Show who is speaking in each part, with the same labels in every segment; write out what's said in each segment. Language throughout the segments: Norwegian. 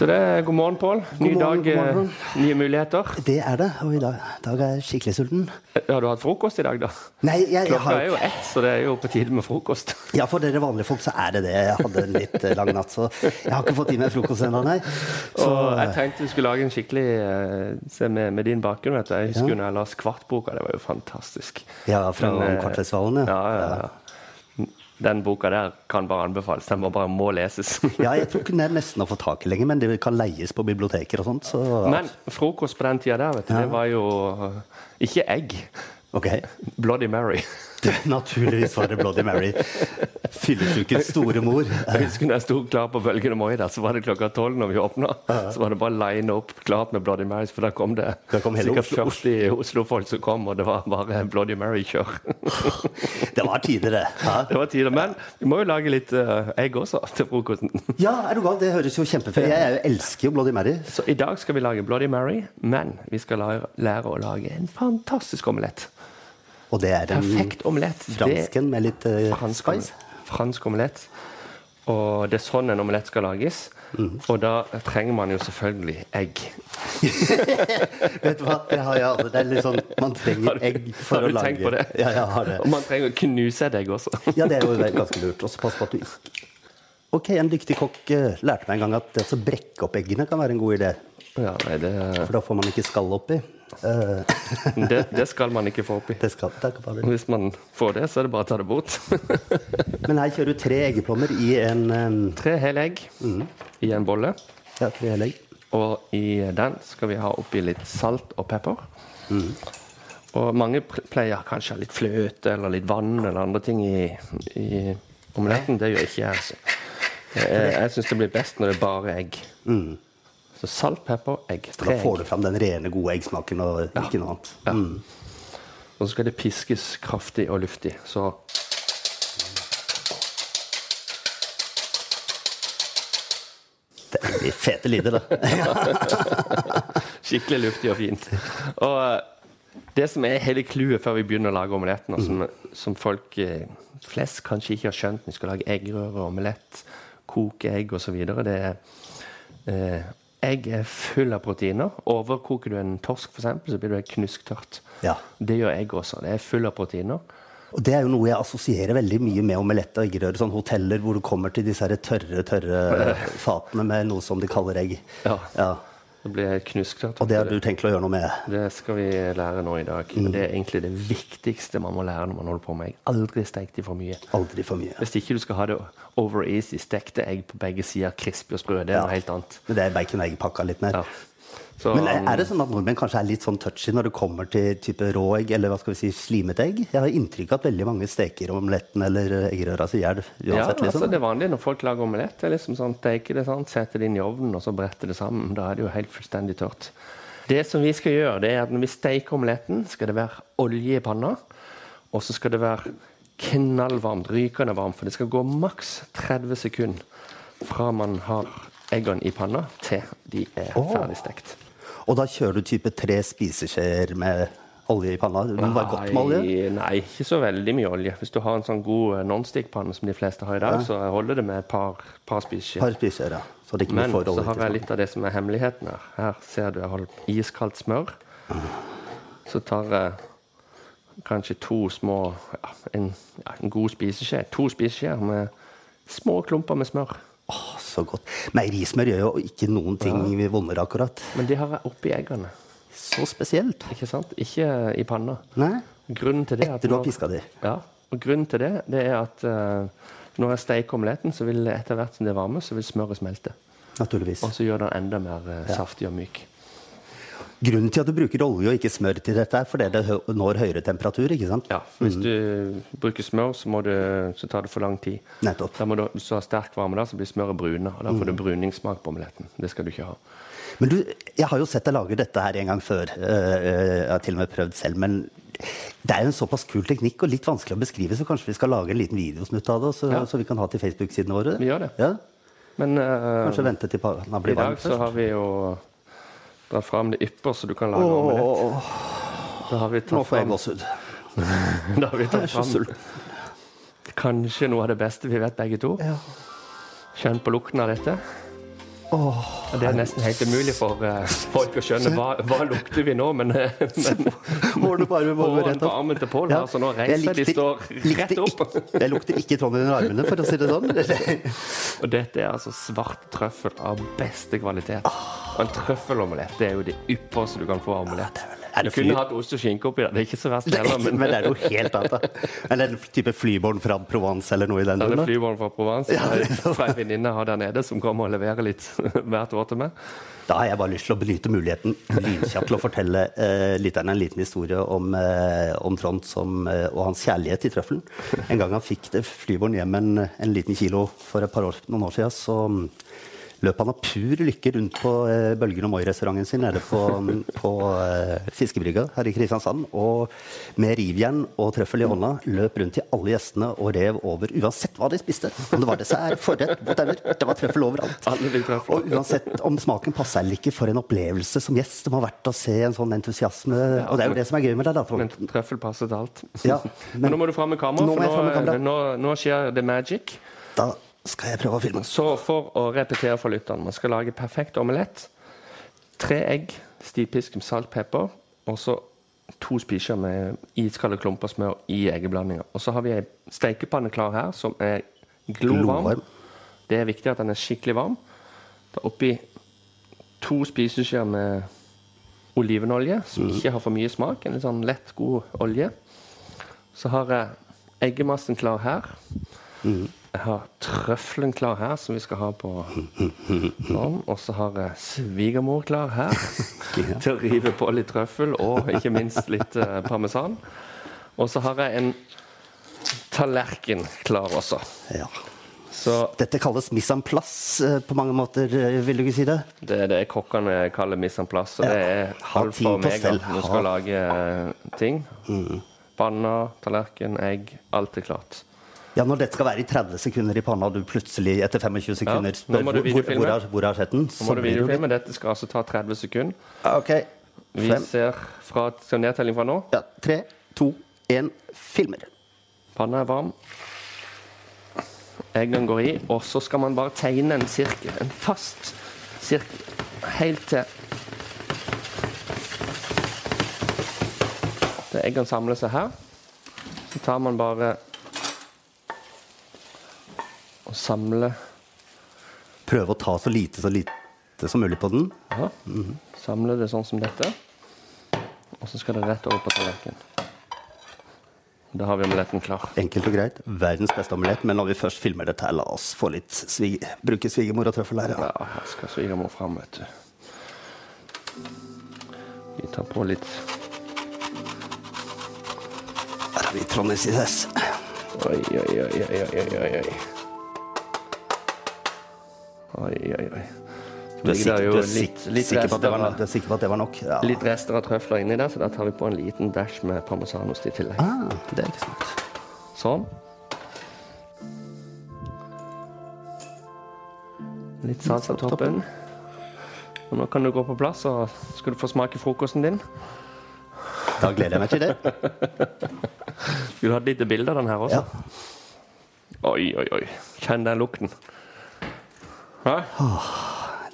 Speaker 1: Så det er god morgen, Pål. Ny
Speaker 2: God
Speaker 1: dag,
Speaker 2: morgen, god
Speaker 1: eh,
Speaker 2: morgen.
Speaker 1: nye muligheter.
Speaker 2: Det er det. Og i dag, i dag er jeg skikkelig sulten.
Speaker 1: Eh, Har du hatt frokost i dag, da?
Speaker 2: Nei, jeg, jeg
Speaker 1: Klokka
Speaker 2: har
Speaker 1: er jo ett, så det er jo på tide med frokost.
Speaker 2: Ja, for dere vanlige folk så er det det. Jeg hadde en litt eh, lang natt, så jeg har ikke fått i meg frokost ennå, nei. Så
Speaker 1: Og jeg tenkte vi skulle lage en skikkelig eh, Se med, med din bakgrunn, vet du. Jeg husker jo når jeg leste Kvartboka, det var jo fantastisk.
Speaker 2: Ja, fra
Speaker 1: Men, eh,
Speaker 2: Kvartfestivalen, ja.
Speaker 1: Ja, ja, ja. Den boka der kan bare anbefales. Den må bare må leses.
Speaker 2: Ja, jeg tror ikke den er nesten å få tak i lenger, men det kan leies på biblioteker og sånt, så
Speaker 1: Men frokost på den tida der, vet du, det var jo eh, ikke egg.
Speaker 2: Ok.
Speaker 1: Bloody Mary.
Speaker 2: Du, naturligvis var det Bloody Mary. Fyllesjukets store mor.
Speaker 1: Jeg husker når jeg sto klar på Bølgen og Moi der, så var det klokka tolv når vi åpna. Så var det bare line opp klart med Bloody Marys, for da kom det
Speaker 2: Da kom hele
Speaker 1: sikkert
Speaker 2: Oslo-
Speaker 1: 40 Oslo-folk som kom, og det var bare Bloody Mary-kjør.
Speaker 2: Det var tider, det. Ja.
Speaker 1: Det var tider. Men vi må jo lage litt eh, egg også til frokosten.
Speaker 2: ja, er du gal? Det høres jo kjempefint ut. Jeg er jo- elsker jo Bloody Mary.
Speaker 1: Så i dag skal vi lage Bloody Mary, men vi skal lære, lære å lage en fantastisk omelett.
Speaker 2: Og det er en
Speaker 1: Perfekt omelett. Det-
Speaker 2: fransken med litt eh,
Speaker 1: fransk, om-
Speaker 2: Mm. spice.
Speaker 1: fransk omelett. Og det er sånn en omelett skal lages.
Speaker 2: Mm.
Speaker 1: Og da trenger man jo selvfølgelig egg.
Speaker 2: Vet du hva, det har jeg aldri. Det er litt sånn, man
Speaker 1: Har
Speaker 2: trenger
Speaker 1: du-
Speaker 2: egg for
Speaker 1: har
Speaker 2: å
Speaker 1: du
Speaker 2: lage
Speaker 1: tenkt på det?
Speaker 2: Ja, jeg har
Speaker 1: Og
Speaker 2: det.
Speaker 1: man trenger å knuse et egg også.
Speaker 2: Ja, det er jo ganske lurt. Og så pass på at du ikke Ok, en dyktig kokk eh, lærte meg en gang at det å brekke opp eggene kan være en god idé.
Speaker 1: Ja, nei, det,
Speaker 2: For da får man ikke skallet oppi. Eh,
Speaker 1: det, det skal man ikke få oppi.
Speaker 2: det skal, det er ikke farlig.
Speaker 1: Hvis man får det, så er det bare å ta det bort.
Speaker 2: Men her kjører du tre eggeplommer i en eh,
Speaker 1: Tre hele egg
Speaker 2: Mhm.
Speaker 1: i en bolle.
Speaker 2: Ja, tre hele egg.
Speaker 1: Og i den skal vi ha oppi litt salt og pepper.
Speaker 2: Mhm.
Speaker 1: Og mange pr- pleier kanskje å ha litt fløte eller litt vann eller andre ting i, i omeletten. Det gjør ikke jeg. Altså. Jeg, jeg syns det blir best når det er bare egg. Så salt, pepper, egg.
Speaker 2: Mhm. Da
Speaker 1: Tre egg.
Speaker 2: får du fram den rene, gode eggsmaken og ikke noe annet.
Speaker 1: Ja. Og så skal det piskes kraftig og luftig. Så
Speaker 2: Det blir fete lyder, da.
Speaker 1: skikkelig luftig og fint. Og eh, det som er hele clouet før vi begynner å lage omeletten, og som, som folk eh, flest kanskje ikke har skjønt når de skal lage eggerøre, omelett, koke egg osv., det er eh, Egg er full av proteiner. Overkoker du en torsk, f.eks., så blir det knusktørt.
Speaker 2: Ja.
Speaker 1: Det gjør egg også. Det er full av proteiner.
Speaker 2: Og det er jo noe jeg assosierer veldig mye med omelett og eggerøre. Sånn hoteller hvor du kommer til disse her tørre, tørre fatene med noe som de kaller egg.
Speaker 1: Ja. Det blir knusktørt.
Speaker 2: Og det Mm. har du tenkt å gjøre noe med?
Speaker 1: Det skal vi lære nå i dag. Og det er egentlig det viktigste man må lære når man holder på med egg. Aldri stek de for mye.
Speaker 2: Aldri for mye.
Speaker 1: Hvis ikke du skal ha det over easy, stekte egg på begge sider, crispy og sprø. Det er
Speaker 2: Ja.
Speaker 1: noe helt annet.
Speaker 2: Men det er bacon og egg-pakka litt mer.
Speaker 1: Ja. Så,
Speaker 2: Men er- er det sånn at nordmenn kanskje er litt sånn touchy når det kommer til type rå egg, eller hva skal vi si, slimete egg? Jeg har inntrykk av at veldig mange steker omeletten eller eggerøra så gjær
Speaker 1: ja,
Speaker 2: uansett,
Speaker 1: altså
Speaker 2: liksom.
Speaker 1: det er vanlig når folk lager omelett. Det er liksom sånn, Steker det, sant? setter det inn i ovnen og så bretter det sammen. Da er det jo helt fullstendig tørt. Det som vi skal gjøre, det er at når vi steker omeletten, skal det være olje i panna. Og så skal det være knallvarmt, rykende varmt. For det skal gå maks 30 sekunder fra man har eggene i panna, til de er ferdig stekt.
Speaker 2: Og da kjører du type tre spiseskjeer med olje i panna? Det må være godt med olje?
Speaker 1: Nei, Nei, ikke så veldig mye olje. Hvis du har en sånn god eh, nonstick-panne som de fleste har i dag, så holder det med et par, par spiseskjeer.
Speaker 2: Par spiseskjeer, ja. Så det ikke blir
Speaker 1: Men
Speaker 2: for
Speaker 1: så
Speaker 2: olje.
Speaker 1: har
Speaker 2: til sånn?
Speaker 1: jeg
Speaker 2: smaken.
Speaker 1: litt av det som er hemmeligheten her. Her ser du jeg holder iskaldt smør. Så tar jeg kanskje to små ja, en, ja, en god spiseskje. To spiseskjeer med små klumper med smør.
Speaker 2: Åh, så godt. Meierismør gjør jo ikke noen ting vondere, akkurat.
Speaker 1: Men de har jeg oppi eggene.
Speaker 2: Så spesielt.
Speaker 1: Ikke sant? Ikke i panna.
Speaker 2: Nei.
Speaker 1: Grunnen til det er at
Speaker 2: Etter du har
Speaker 1: når-
Speaker 2: piska de.
Speaker 1: Ja, og grunnen til det, det er at eh, når jeg steker omeletten, så vil etter hvert som det varmer, så vil smøret smelte.
Speaker 2: Naturligvis.
Speaker 1: Og så gjør den enda mer eh, saftig og myk.
Speaker 2: Grunnen til at du bruker olje og ikke smør til dette, er fordi det hø- når høyere temperatur, ikke sant?
Speaker 1: Ja, Hvis du bruker smør, så, må du, så tar det for lang tid.
Speaker 2: Nettopp. Mm.
Speaker 1: Da må du, hvis du har sterk varme, da, så blir smøret brune, og da får du bruningssmak på omeletten. Det skal du ikke ha.
Speaker 2: Men du, jeg har jo sett deg lage dette her en gang før. eh, eh, Jeg har til og med prøvd selv, men det er jo en såpass kul teknikk og litt vanskelig å beskrive, så kanskje vi skal lage en liten videosnutt av det, så,
Speaker 1: Ja.
Speaker 2: så vi kan ha til Facebook-sidene våre?
Speaker 1: Vi gjør det.
Speaker 2: Ja?
Speaker 1: Men eh,
Speaker 2: Kanskje vente til panna
Speaker 1: i
Speaker 2: blir varm
Speaker 1: dag så
Speaker 2: først?
Speaker 1: har vi jo dratt fram det ypperste du kan lage omelett.
Speaker 2: Åh,
Speaker 1: Da har vi
Speaker 2: nå
Speaker 1: tatt
Speaker 2: får jeg
Speaker 1: fram,
Speaker 2: gåsehud.
Speaker 1: da har vi
Speaker 2: Jeg
Speaker 1: tatt
Speaker 2: er så
Speaker 1: fram
Speaker 2: sulten.
Speaker 1: kanskje noe av det beste vi vet begge to.
Speaker 2: Ja.
Speaker 1: Kjenn på lukten av dette. Og Det er nesten helt umulig for eh, folk å skjønne hva, hva lukter vi nå, men, eh, men
Speaker 2: Hårene på armen må gå
Speaker 1: Hårene
Speaker 2: rett
Speaker 1: på
Speaker 2: opp.
Speaker 1: armen til Pål, altså, nå reiser
Speaker 2: Jeg
Speaker 1: de, står rett
Speaker 2: likte
Speaker 1: opp.
Speaker 2: Ikke, jeg lukter ikke Trond under armene, for å si det sånn.
Speaker 1: Og dette er altså svart trøffel av beste kvalitet. Og en trøffelomelett det er jo det ypperste du kan få av omelett. Du
Speaker 2: Er det
Speaker 1: kunne
Speaker 2: fly-
Speaker 1: hatt ost og skinke oppi der. Det er ikke så verst
Speaker 2: Det er
Speaker 1: heller,
Speaker 2: ikke-
Speaker 1: men
Speaker 2: Men det er noe helt annet. da. Eller en type flyborn fra Provence eller noe i den
Speaker 1: det er
Speaker 2: duren. da.
Speaker 1: flyvåren fra Provence
Speaker 2: Ja.
Speaker 1: fra ei venninne jeg har der nede, som kommer og leverer litt hvert år til meg.
Speaker 2: Da har jeg bare lyst til å benytte muligheten lynkjapt til å fortelle eh, lytterne en liten historie om, eh, om Trond som, eh, og hans kjærlighet til trøffelen. En gang han fikk det flyborn hjem en, en liten kilo for et par år, noen år siden, så mm, løp han av pur lykke rundt på eh, Bølgen og Moi-restauranten sin nede på, mm, på eh, fiskebrygga her i Kristiansand. Og med rivjern og trøffel i hånda løp rundt til alle gjestene og rev over uansett hva de spiste. Om det var dessert, forrett, whatever. Det var trøffel overalt.
Speaker 1: Alle fikk trøffel.
Speaker 2: Og uansett om smaken passer eller ikke, for en opplevelse som gjest som har vært å se en sånn entusiasme. Og det er jo det som er gøy med det. da, Trond.
Speaker 1: Men trøffel passer til alt.
Speaker 2: Ja,
Speaker 1: men,
Speaker 2: men-
Speaker 1: nå må du fram med kamera,
Speaker 2: Nå må
Speaker 1: for
Speaker 2: jeg fram med kamera.
Speaker 1: nå, nå, nå skjer the magic.
Speaker 2: Da skal jeg prøve å filme.
Speaker 1: Så for å repetere for lytteren Man skal lage perfekt omelett. Tre egg, stivpisk med salt, pepper. Og så to spisjer med iskalde klumper smør i eggeblandinga. Og så har vi ei stekepanne klar her som er glovarm.
Speaker 2: Glovarm.
Speaker 1: Det er viktig at den er skikkelig varm. Da oppi to spiseskjeer med olivenolje, som ikke har for mye smak. En litt sånn lett, god olje. Så har jeg eggemassen klar her. Jeg har trøffelen klar her, som vi skal ha på sånn. Og så har jeg svigermor klar her til å rive på litt trøffel og ikke minst litt eh, parmesan. Og så har jeg en tallerken klar også.
Speaker 2: Ja.
Speaker 1: Så
Speaker 2: Dette kalles mise en place eh, på mange måter, eh, vil du ikke si det?
Speaker 1: Det er det kokkene kaller mise en place. Og det
Speaker 2: Ja.
Speaker 1: er
Speaker 2: Ha
Speaker 1: halv
Speaker 2: ting
Speaker 1: for
Speaker 2: på
Speaker 1: meg
Speaker 2: stell.
Speaker 1: når du
Speaker 2: Ha- Mm.
Speaker 1: skal lage eh, ting. Panna, tallerken, egg. Alt er klart.
Speaker 2: Ja, Når dette skal være i 30 sekunder i panna, og du plutselig etter 25 sekunder
Speaker 1: nå
Speaker 2: spør
Speaker 1: må
Speaker 2: hvor,
Speaker 1: du
Speaker 2: hvor,
Speaker 1: videofilme.
Speaker 2: hvor, har- hvor har jeg sett den,
Speaker 1: Nå
Speaker 2: så
Speaker 1: må du
Speaker 2: blir det jo litt
Speaker 1: videofilme. Dette skal altså ta 30 sekunder.
Speaker 2: Ok.
Speaker 1: Vi
Speaker 2: Fem,
Speaker 1: ser fra skal nedtelling fra nå.
Speaker 2: ja, tre, to, én, filmer.
Speaker 1: Panna er varm. Eggene går i. Og så skal man bare tegne en sirkel. En fast sirkel helt til Til eggene samler seg her. Så tar man bare og samler
Speaker 2: Prøve å ta så lite så lite som mulig på den.
Speaker 1: ja. Samler det sånn som dette. Og så skal det rett over på tallerkenen. Da har vi omeletten klar.
Speaker 2: Enkelt og greit. Verdens beste omelett. Men når vi først filmer dette, her, la oss få litt svig bruke svigermor og trøffel her. Ja.
Speaker 1: Ja, her skal svigermor fram, vet du. Vi tar på litt
Speaker 2: Her har vi Trond Isis.
Speaker 1: Oi, oi, oi, oi, oi, oi, oi. Oi, oi, oi. Så
Speaker 2: Du er,
Speaker 1: ligger
Speaker 2: sikker,
Speaker 1: det jo
Speaker 2: du, er
Speaker 1: litt,
Speaker 2: sikker,
Speaker 1: litt,
Speaker 2: sikker på at det
Speaker 1: rester
Speaker 2: var, no-
Speaker 1: av,
Speaker 2: du er sikker på at det var nok? Ja.
Speaker 1: litt rester av trøfler inni der, så da tar vi på en liten dash med parmesanost i tillegg.
Speaker 2: Ah, det er ikke sant.
Speaker 1: Sånn. Litt salt på toppen. Og nå kan du gå på plass, og skal du få smake frokosten din.
Speaker 2: Da gleder jeg meg til det.
Speaker 1: Skulle hatt lite bilde av den her også.
Speaker 2: Ja.
Speaker 1: Oi, oi, oi. Kjenn den lukten. Hæ?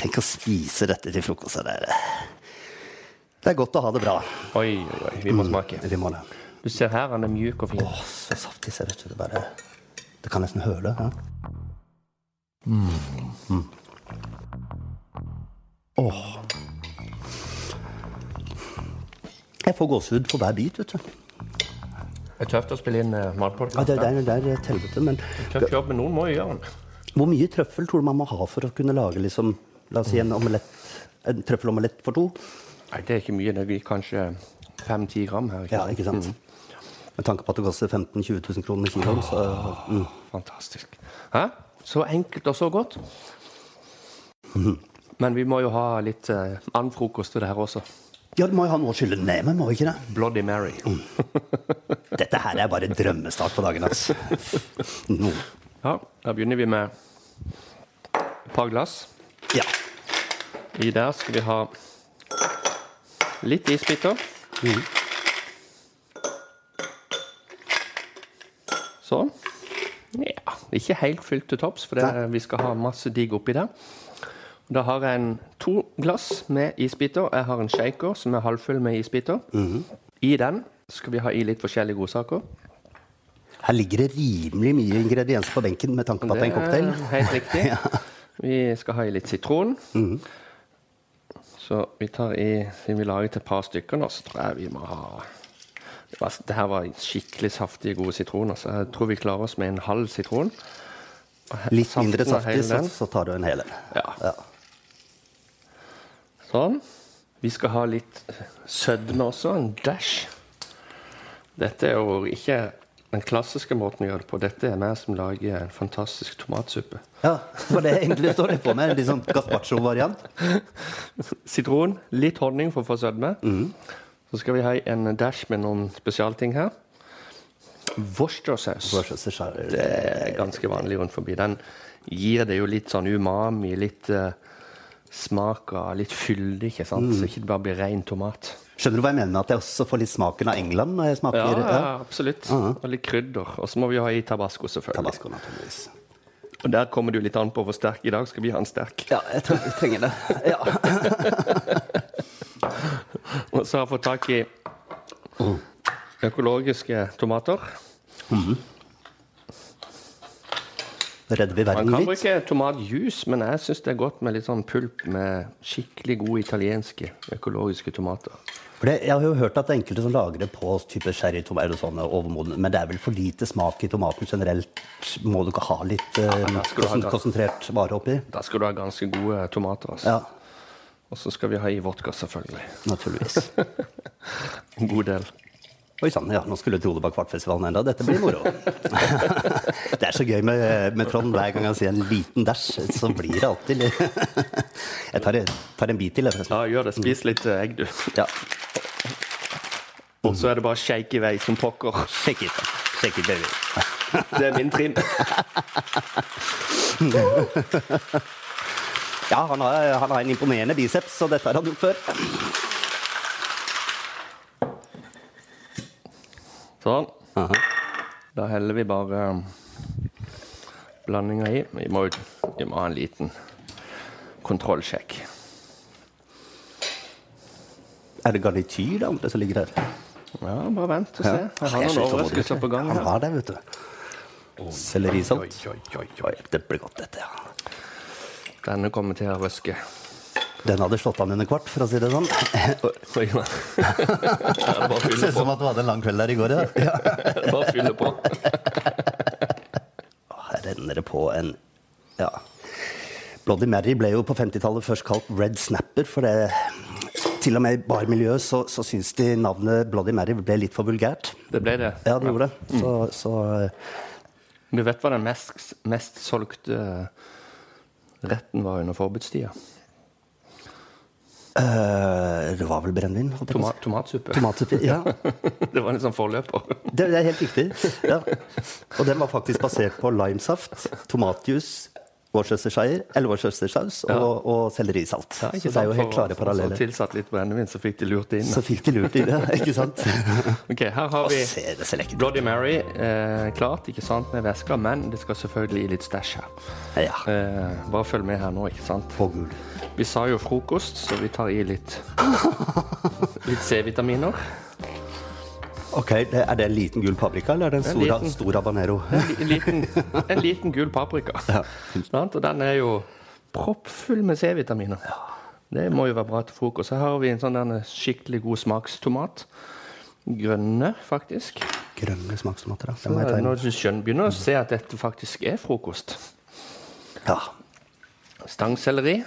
Speaker 2: Tenk å spise dette til frokost. Det er, det er godt å ha det bra. Mm,
Speaker 1: Oi, oi, oi. Vi må smake.
Speaker 2: Vi må det.
Speaker 1: Du ser her, han er mjuk og fin.
Speaker 2: Å, så saftig ser det ut. Det bare Det kan nesten høle. Ja. Mm. Mm. Åh. Jeg får gåsehud på hver bit, vet du.
Speaker 1: Det er tøft å spille inn eh,
Speaker 2: Ja,
Speaker 1: matpodkast.
Speaker 2: det, det, er, det er et helvete, men
Speaker 1: Tøff jobb, men noen må jo gjøre den.
Speaker 2: hvor mye trøffel tror du man må ha for å kunne lage liksom, la oss si en, omelett, en trøffelomelett for to?
Speaker 1: Nei, det er ikke mye. Det blir kanskje fem-ti gram her.
Speaker 2: Ja, ikke sant? Med tanke på at det koster 15 000-20 000 kroner kiloen, så mm.
Speaker 1: Fantastisk. Hæ? Så enkelt og så godt. Men vi må jo ha litt eh, annen frokost til det her også.
Speaker 2: Ja, du må jo ha noe å skylle ned med, må vi ikke det?
Speaker 1: Bloody Mary.
Speaker 2: Mm. Dette her er bare drømmestart på dagen hans. Nå.
Speaker 1: Ja, da begynner vi med et par glass.
Speaker 2: Ja.
Speaker 1: I der skal vi ha litt isbiter. Sånn. Ja, ikke helt fylt til topps, for det, vi skal ha masse digg oppi der. Da har jeg en, to glass med isbiter. Jeg har en shaker som er halvfull med isbiter. I den skal vi ha i litt forskjellige godsaker.
Speaker 2: Her ligger det rimelig mye ingredienser på benken med tanke på at det er en cocktail.
Speaker 1: helt riktig. Vi skal ha i litt sitron.
Speaker 2: Mhm.
Speaker 1: Så vi tar i Siden vi laget et par stykker nå, så tror jeg vi må ha det var- Det her var skikkelig saftige, gode sitroner, så jeg tror vi klarer oss med en halv sitron.
Speaker 2: Litt
Speaker 1: Saften
Speaker 2: mindre
Speaker 1: og
Speaker 2: saftig,
Speaker 1: hele
Speaker 2: så,
Speaker 1: den.
Speaker 2: så tar du en hel en.
Speaker 1: Ja.
Speaker 2: Ja.
Speaker 1: Sånn. Vi skal ha litt sødme også. En dash. Dette er jo ikke den klassiske måten å gjøre det på. Dette er meg som lager en fantastisk tomatsuppe.
Speaker 2: Ja, for det egentlig står det på med. Litt sånn gazpacho-variant.
Speaker 1: Sitron, litt honning for å få sødme. Så skal vi ha en dash med noen spesialting her. Worcestersaus.
Speaker 2: Worcestershire.
Speaker 1: Det er ganske vanlig rundt forbi. Den gir det jo litt sånn umami, litt eh, smak av litt fyldig, ikke sant? Så ikke det bare blir ren tomat.
Speaker 2: Skjønner du hva jeg mener med at jeg også får litt smaken av England når jeg
Speaker 1: Ja,
Speaker 2: smaker
Speaker 1: ja, absolutt. Og litt krydder. Og så må vi jo ha i tabasco, selvfølgelig.
Speaker 2: tabasco, naturligvis?
Speaker 1: Og der kommer det jo litt an på hvor sterk i dag skal vi ha en sterk.
Speaker 2: Ja, jeg tre- jeg trenger det. Ja.
Speaker 1: Og så har jeg fått tak i økologiske tomater.
Speaker 2: Redder vi
Speaker 1: Man
Speaker 2: verden
Speaker 1: kan
Speaker 2: litt?
Speaker 1: bruke tomatjuice, men jeg syns det er godt med litt sånn pulp med skikkelig gode italienske økologiske tomater.
Speaker 2: For det, jeg har jo hørt at det er enkelte som lager det på type sherrytomater og sånne overmodne, sånn, eh, men det er vel for lite smak i tomaten generelt? Må du ikke ha litt eh,
Speaker 1: da skal du ha
Speaker 2: konsen-
Speaker 1: gans-
Speaker 2: konsentrert vare oppi?
Speaker 1: Da skal du ha ganske gode tomater. Altså.
Speaker 2: Ja,
Speaker 1: Og så skal vi ha i vodka, selvfølgelig.
Speaker 2: naturligvis.
Speaker 1: En god del.
Speaker 2: Oi sann, ja, nå skulle jeg tro det var Kvartfestivalen enda. Dette blir moro. det er så gøy med, med Trond. Hver gang han sier en liten dæsj, så blir det alltid litt Jeg tar, tar en bit til, jeg, forresten.
Speaker 1: Ja, gjør det. Spis litt eh, egg, du.
Speaker 2: Ja.
Speaker 1: Og så er det bare shake i vei som pokker.
Speaker 2: Sjekk it. Sjekk it, baby.
Speaker 1: Det er min trim.
Speaker 2: Ja, han har, han har en imponerende biceps, så dette har han gjort før.
Speaker 1: Sånn.
Speaker 2: Aha.
Speaker 1: Da heller vi bare um, blandinga i. Vi må, jo- vi må ha en liten kontrollsjekk.
Speaker 2: Er det garnityr, det andre som ligger der?
Speaker 1: Ja, bare vent og se.
Speaker 2: Ja.
Speaker 1: Jeg har
Speaker 2: Jeg er
Speaker 1: noen
Speaker 2: så utålmodig.
Speaker 1: overraskelser på gang
Speaker 2: Han
Speaker 1: her.
Speaker 2: har det, vet du. Sellerisalt. Oi, Det blir godt, dette. ja.
Speaker 1: Denne kommer til å røske.
Speaker 2: Den hadde slått an under kvart, for å si det sånn.
Speaker 1: Oi, ja. Det er bare å fylle
Speaker 2: Ser ut
Speaker 1: på.
Speaker 2: som at du hadde en lang kveld der i går. Ja. Ja.
Speaker 1: Det er Bare å fylle på.
Speaker 2: Her renner det på en Ja. Bloody Mary ble jo på 50-tallet først kalt Red Snapper, for det Til og med i barmiljøet så, så syns de navnet Bloody Mary ble litt for vulgært.
Speaker 1: Det ble det.
Speaker 2: Ja, Mm. det gjorde det. Så, så
Speaker 1: Du vet hva den mest, mest solgte eh, retten var under forbudstida?
Speaker 2: eh, Det var vel brennevin? holdt jeg på å
Speaker 1: Toma,
Speaker 2: si.
Speaker 1: tomatsuppe.
Speaker 2: Tomatsuppe. Ja.
Speaker 1: Det var en sånn forløper.
Speaker 2: Det, det er helt riktig. Ja. Og den var faktisk basert på limesaft, tomatjuice, Worcestershire, eller Worcestersaus og, og sellerisalt.
Speaker 1: Ja, ikke
Speaker 2: så det er jo
Speaker 1: sant?
Speaker 2: helt
Speaker 1: For-
Speaker 2: klare
Speaker 1: Så
Speaker 2: paralleller.
Speaker 1: tilsatt litt brennevin, så fikk de lurt det inn.
Speaker 2: Så fikk de lurt i det, ikke sant?
Speaker 1: Ok, her har
Speaker 2: Og
Speaker 1: vi
Speaker 2: se, det ser lekkert ut.
Speaker 1: Bloody Mary, eh, klart, ikke sant, med væska, men det skal selvfølgelig i litt stæsj her.
Speaker 2: Ja.
Speaker 1: Eh, bare følg med her nå, ikke sant.
Speaker 2: På gul.
Speaker 1: Vi sa jo frokost, så vi tar i litt Litt C-vitaminer.
Speaker 2: Ok, det, Er det en liten gul paprika, eller er det en stor,
Speaker 1: liten.
Speaker 2: stor habanero?
Speaker 1: En liten, en liten gul paprika. Sant? Og den er jo proppfull med C-vitaminer. Det må jo være bra til frokost. Her har vi en sånn derne skikkelig god smakstomat. Grønne, faktisk.
Speaker 2: Grønne smakstomater, da. Det må jeg ta inn.
Speaker 1: Når du skjønner, begynner å se at dette faktisk er frokost.
Speaker 2: Ja.
Speaker 1: Stangselleri.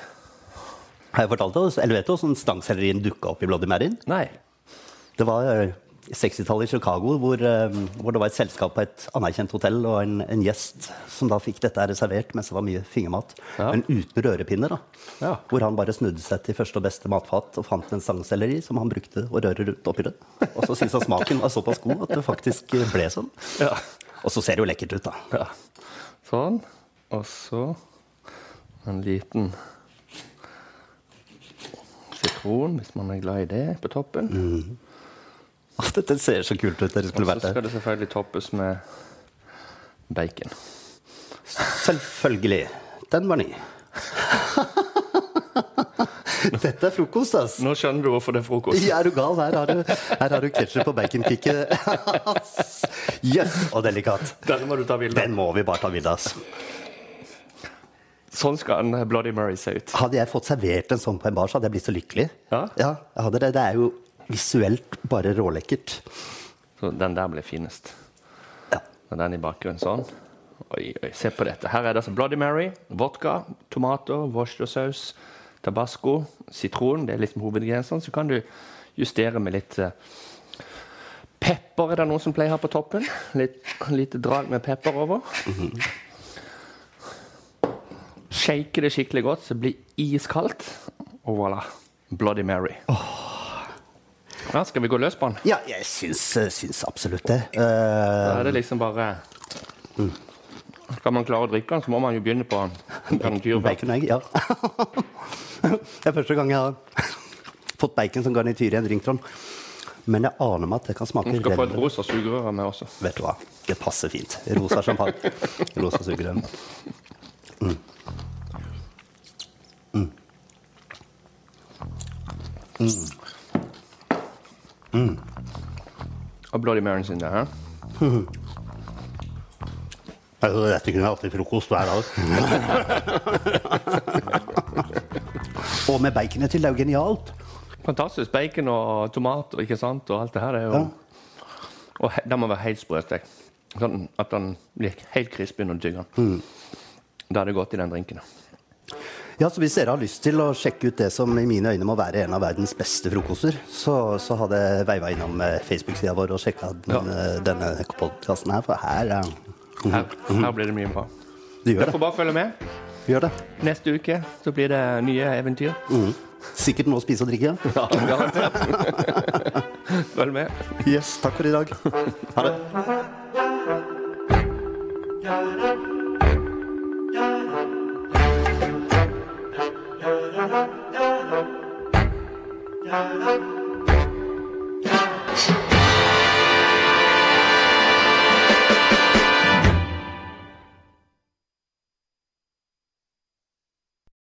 Speaker 2: Har jeg fortalt deg, eller vet du hvordan stangsellerien dukka opp i Bloody Maryn?
Speaker 1: Nei.
Speaker 2: Det var eh, 60-tallet i Chicago, hvor, eh, hvor det var et selskap på et anerkjent hotell, og en, en gjest som da fikk dette her servert mens det var mye fingermat,
Speaker 1: Ja.
Speaker 2: men uten rørepinner. da.
Speaker 1: Ja.
Speaker 2: Hvor han bare snudde seg til første og beste matfat og fant en stangselleri som han brukte å røre rundt oppi det. Og så syntes han smaken var såpass god at det faktisk eh, ble sånn.
Speaker 1: Ja.
Speaker 2: Og så ser det jo lekkert ut, da.
Speaker 1: ja. Sånn. Og så en liten sitron, hvis man er glad i det, på toppen.
Speaker 2: Å, Dette ser så kult ut. Dere
Speaker 1: Og
Speaker 2: skulle
Speaker 1: så
Speaker 2: vært der.
Speaker 1: skal det selvfølgelig toppes med bacon.
Speaker 2: Selvfølgelig. Den var ny. Dette er frokost, ass!
Speaker 1: Nå skjønner du hvorfor det er frokost.
Speaker 2: Ja, er du gal? Her har du, her har du ketsjup og baconkikket. Jøss, yes, og delikat.
Speaker 1: Denne må du ta bilde
Speaker 2: Den
Speaker 1: av.
Speaker 2: må vi bare ta bilde av. altså. ass.
Speaker 1: Sånn skal en Bloody Murray se ut.
Speaker 2: Hadde jeg fått servert en sånn på en bar, så hadde jeg blitt så lykkelig.
Speaker 1: Ja?
Speaker 2: jeg hadde det. Det er jo visuelt bare rålekkert.
Speaker 1: Så den der ble finest.
Speaker 2: Ja.
Speaker 1: Og den i bakgrunnen sånn. Oi, oi, se på dette. Her er det altså Bloody Mary, vodka, tomater, worcestersaus, tabasco, sitron. Det er liksom hovedingrediensene. Så kan du justere med litt eh, pepper. Er det noen som pleier å ha på toppen? Litt lite drag med pepper over. Shake det skikkelig godt, så det blir iskaldt. Og voilà. Bloody Mary. Ja, skal vi gå løs på den?
Speaker 2: ja, jeg syns, syns absolutt det. Eh,
Speaker 1: Da er det liksom bare Skal man klare å drikke den, så må man jo begynne på garnityr.
Speaker 2: bacon og egg, ja. det er første gang jeg har fått bacon som garnityr i en drink, Trond. Men jeg aner meg at det kan smake
Speaker 1: Du skal få et
Speaker 2: relativt-
Speaker 1: rosa sugerøre med også.
Speaker 2: Vet du hva, det passer fint. Rosa champagne. Rosa sugerør. Mm. Mm.
Speaker 1: Og Bloody Marys inni der. hæ?
Speaker 2: Altså, dette kunne jeg hatt til frokost hver dag. og med baconet til, det er jo genialt.
Speaker 1: Fantastisk. Bacon og tomat og ikke sant, og alt det her. Det er jo Og he- den må være helt sprøstekt. Sånn at den blir helt crispy når du tygger den. Da er det godt i den drinken.
Speaker 2: Ja, så Hvis dere har lyst til å sjekke ut det som i mine øyne må være en av verdens beste frokoster, så, så hadde jeg veiva innom eh, Facebook-sida vår og sjekka den, eh, denne podkasten her, for her eh,
Speaker 1: Her, her blir det mye bra.
Speaker 2: Du
Speaker 1: Dere
Speaker 2: gjør
Speaker 1: får
Speaker 2: det.
Speaker 1: bare følge med.
Speaker 2: Du gjør det.
Speaker 1: Neste uke så blir det nye eventyr.
Speaker 2: Sikkert noe å spise og drikke.
Speaker 1: Ja, garantert. Følg med.
Speaker 2: Yes, takk for i dag. Ha det.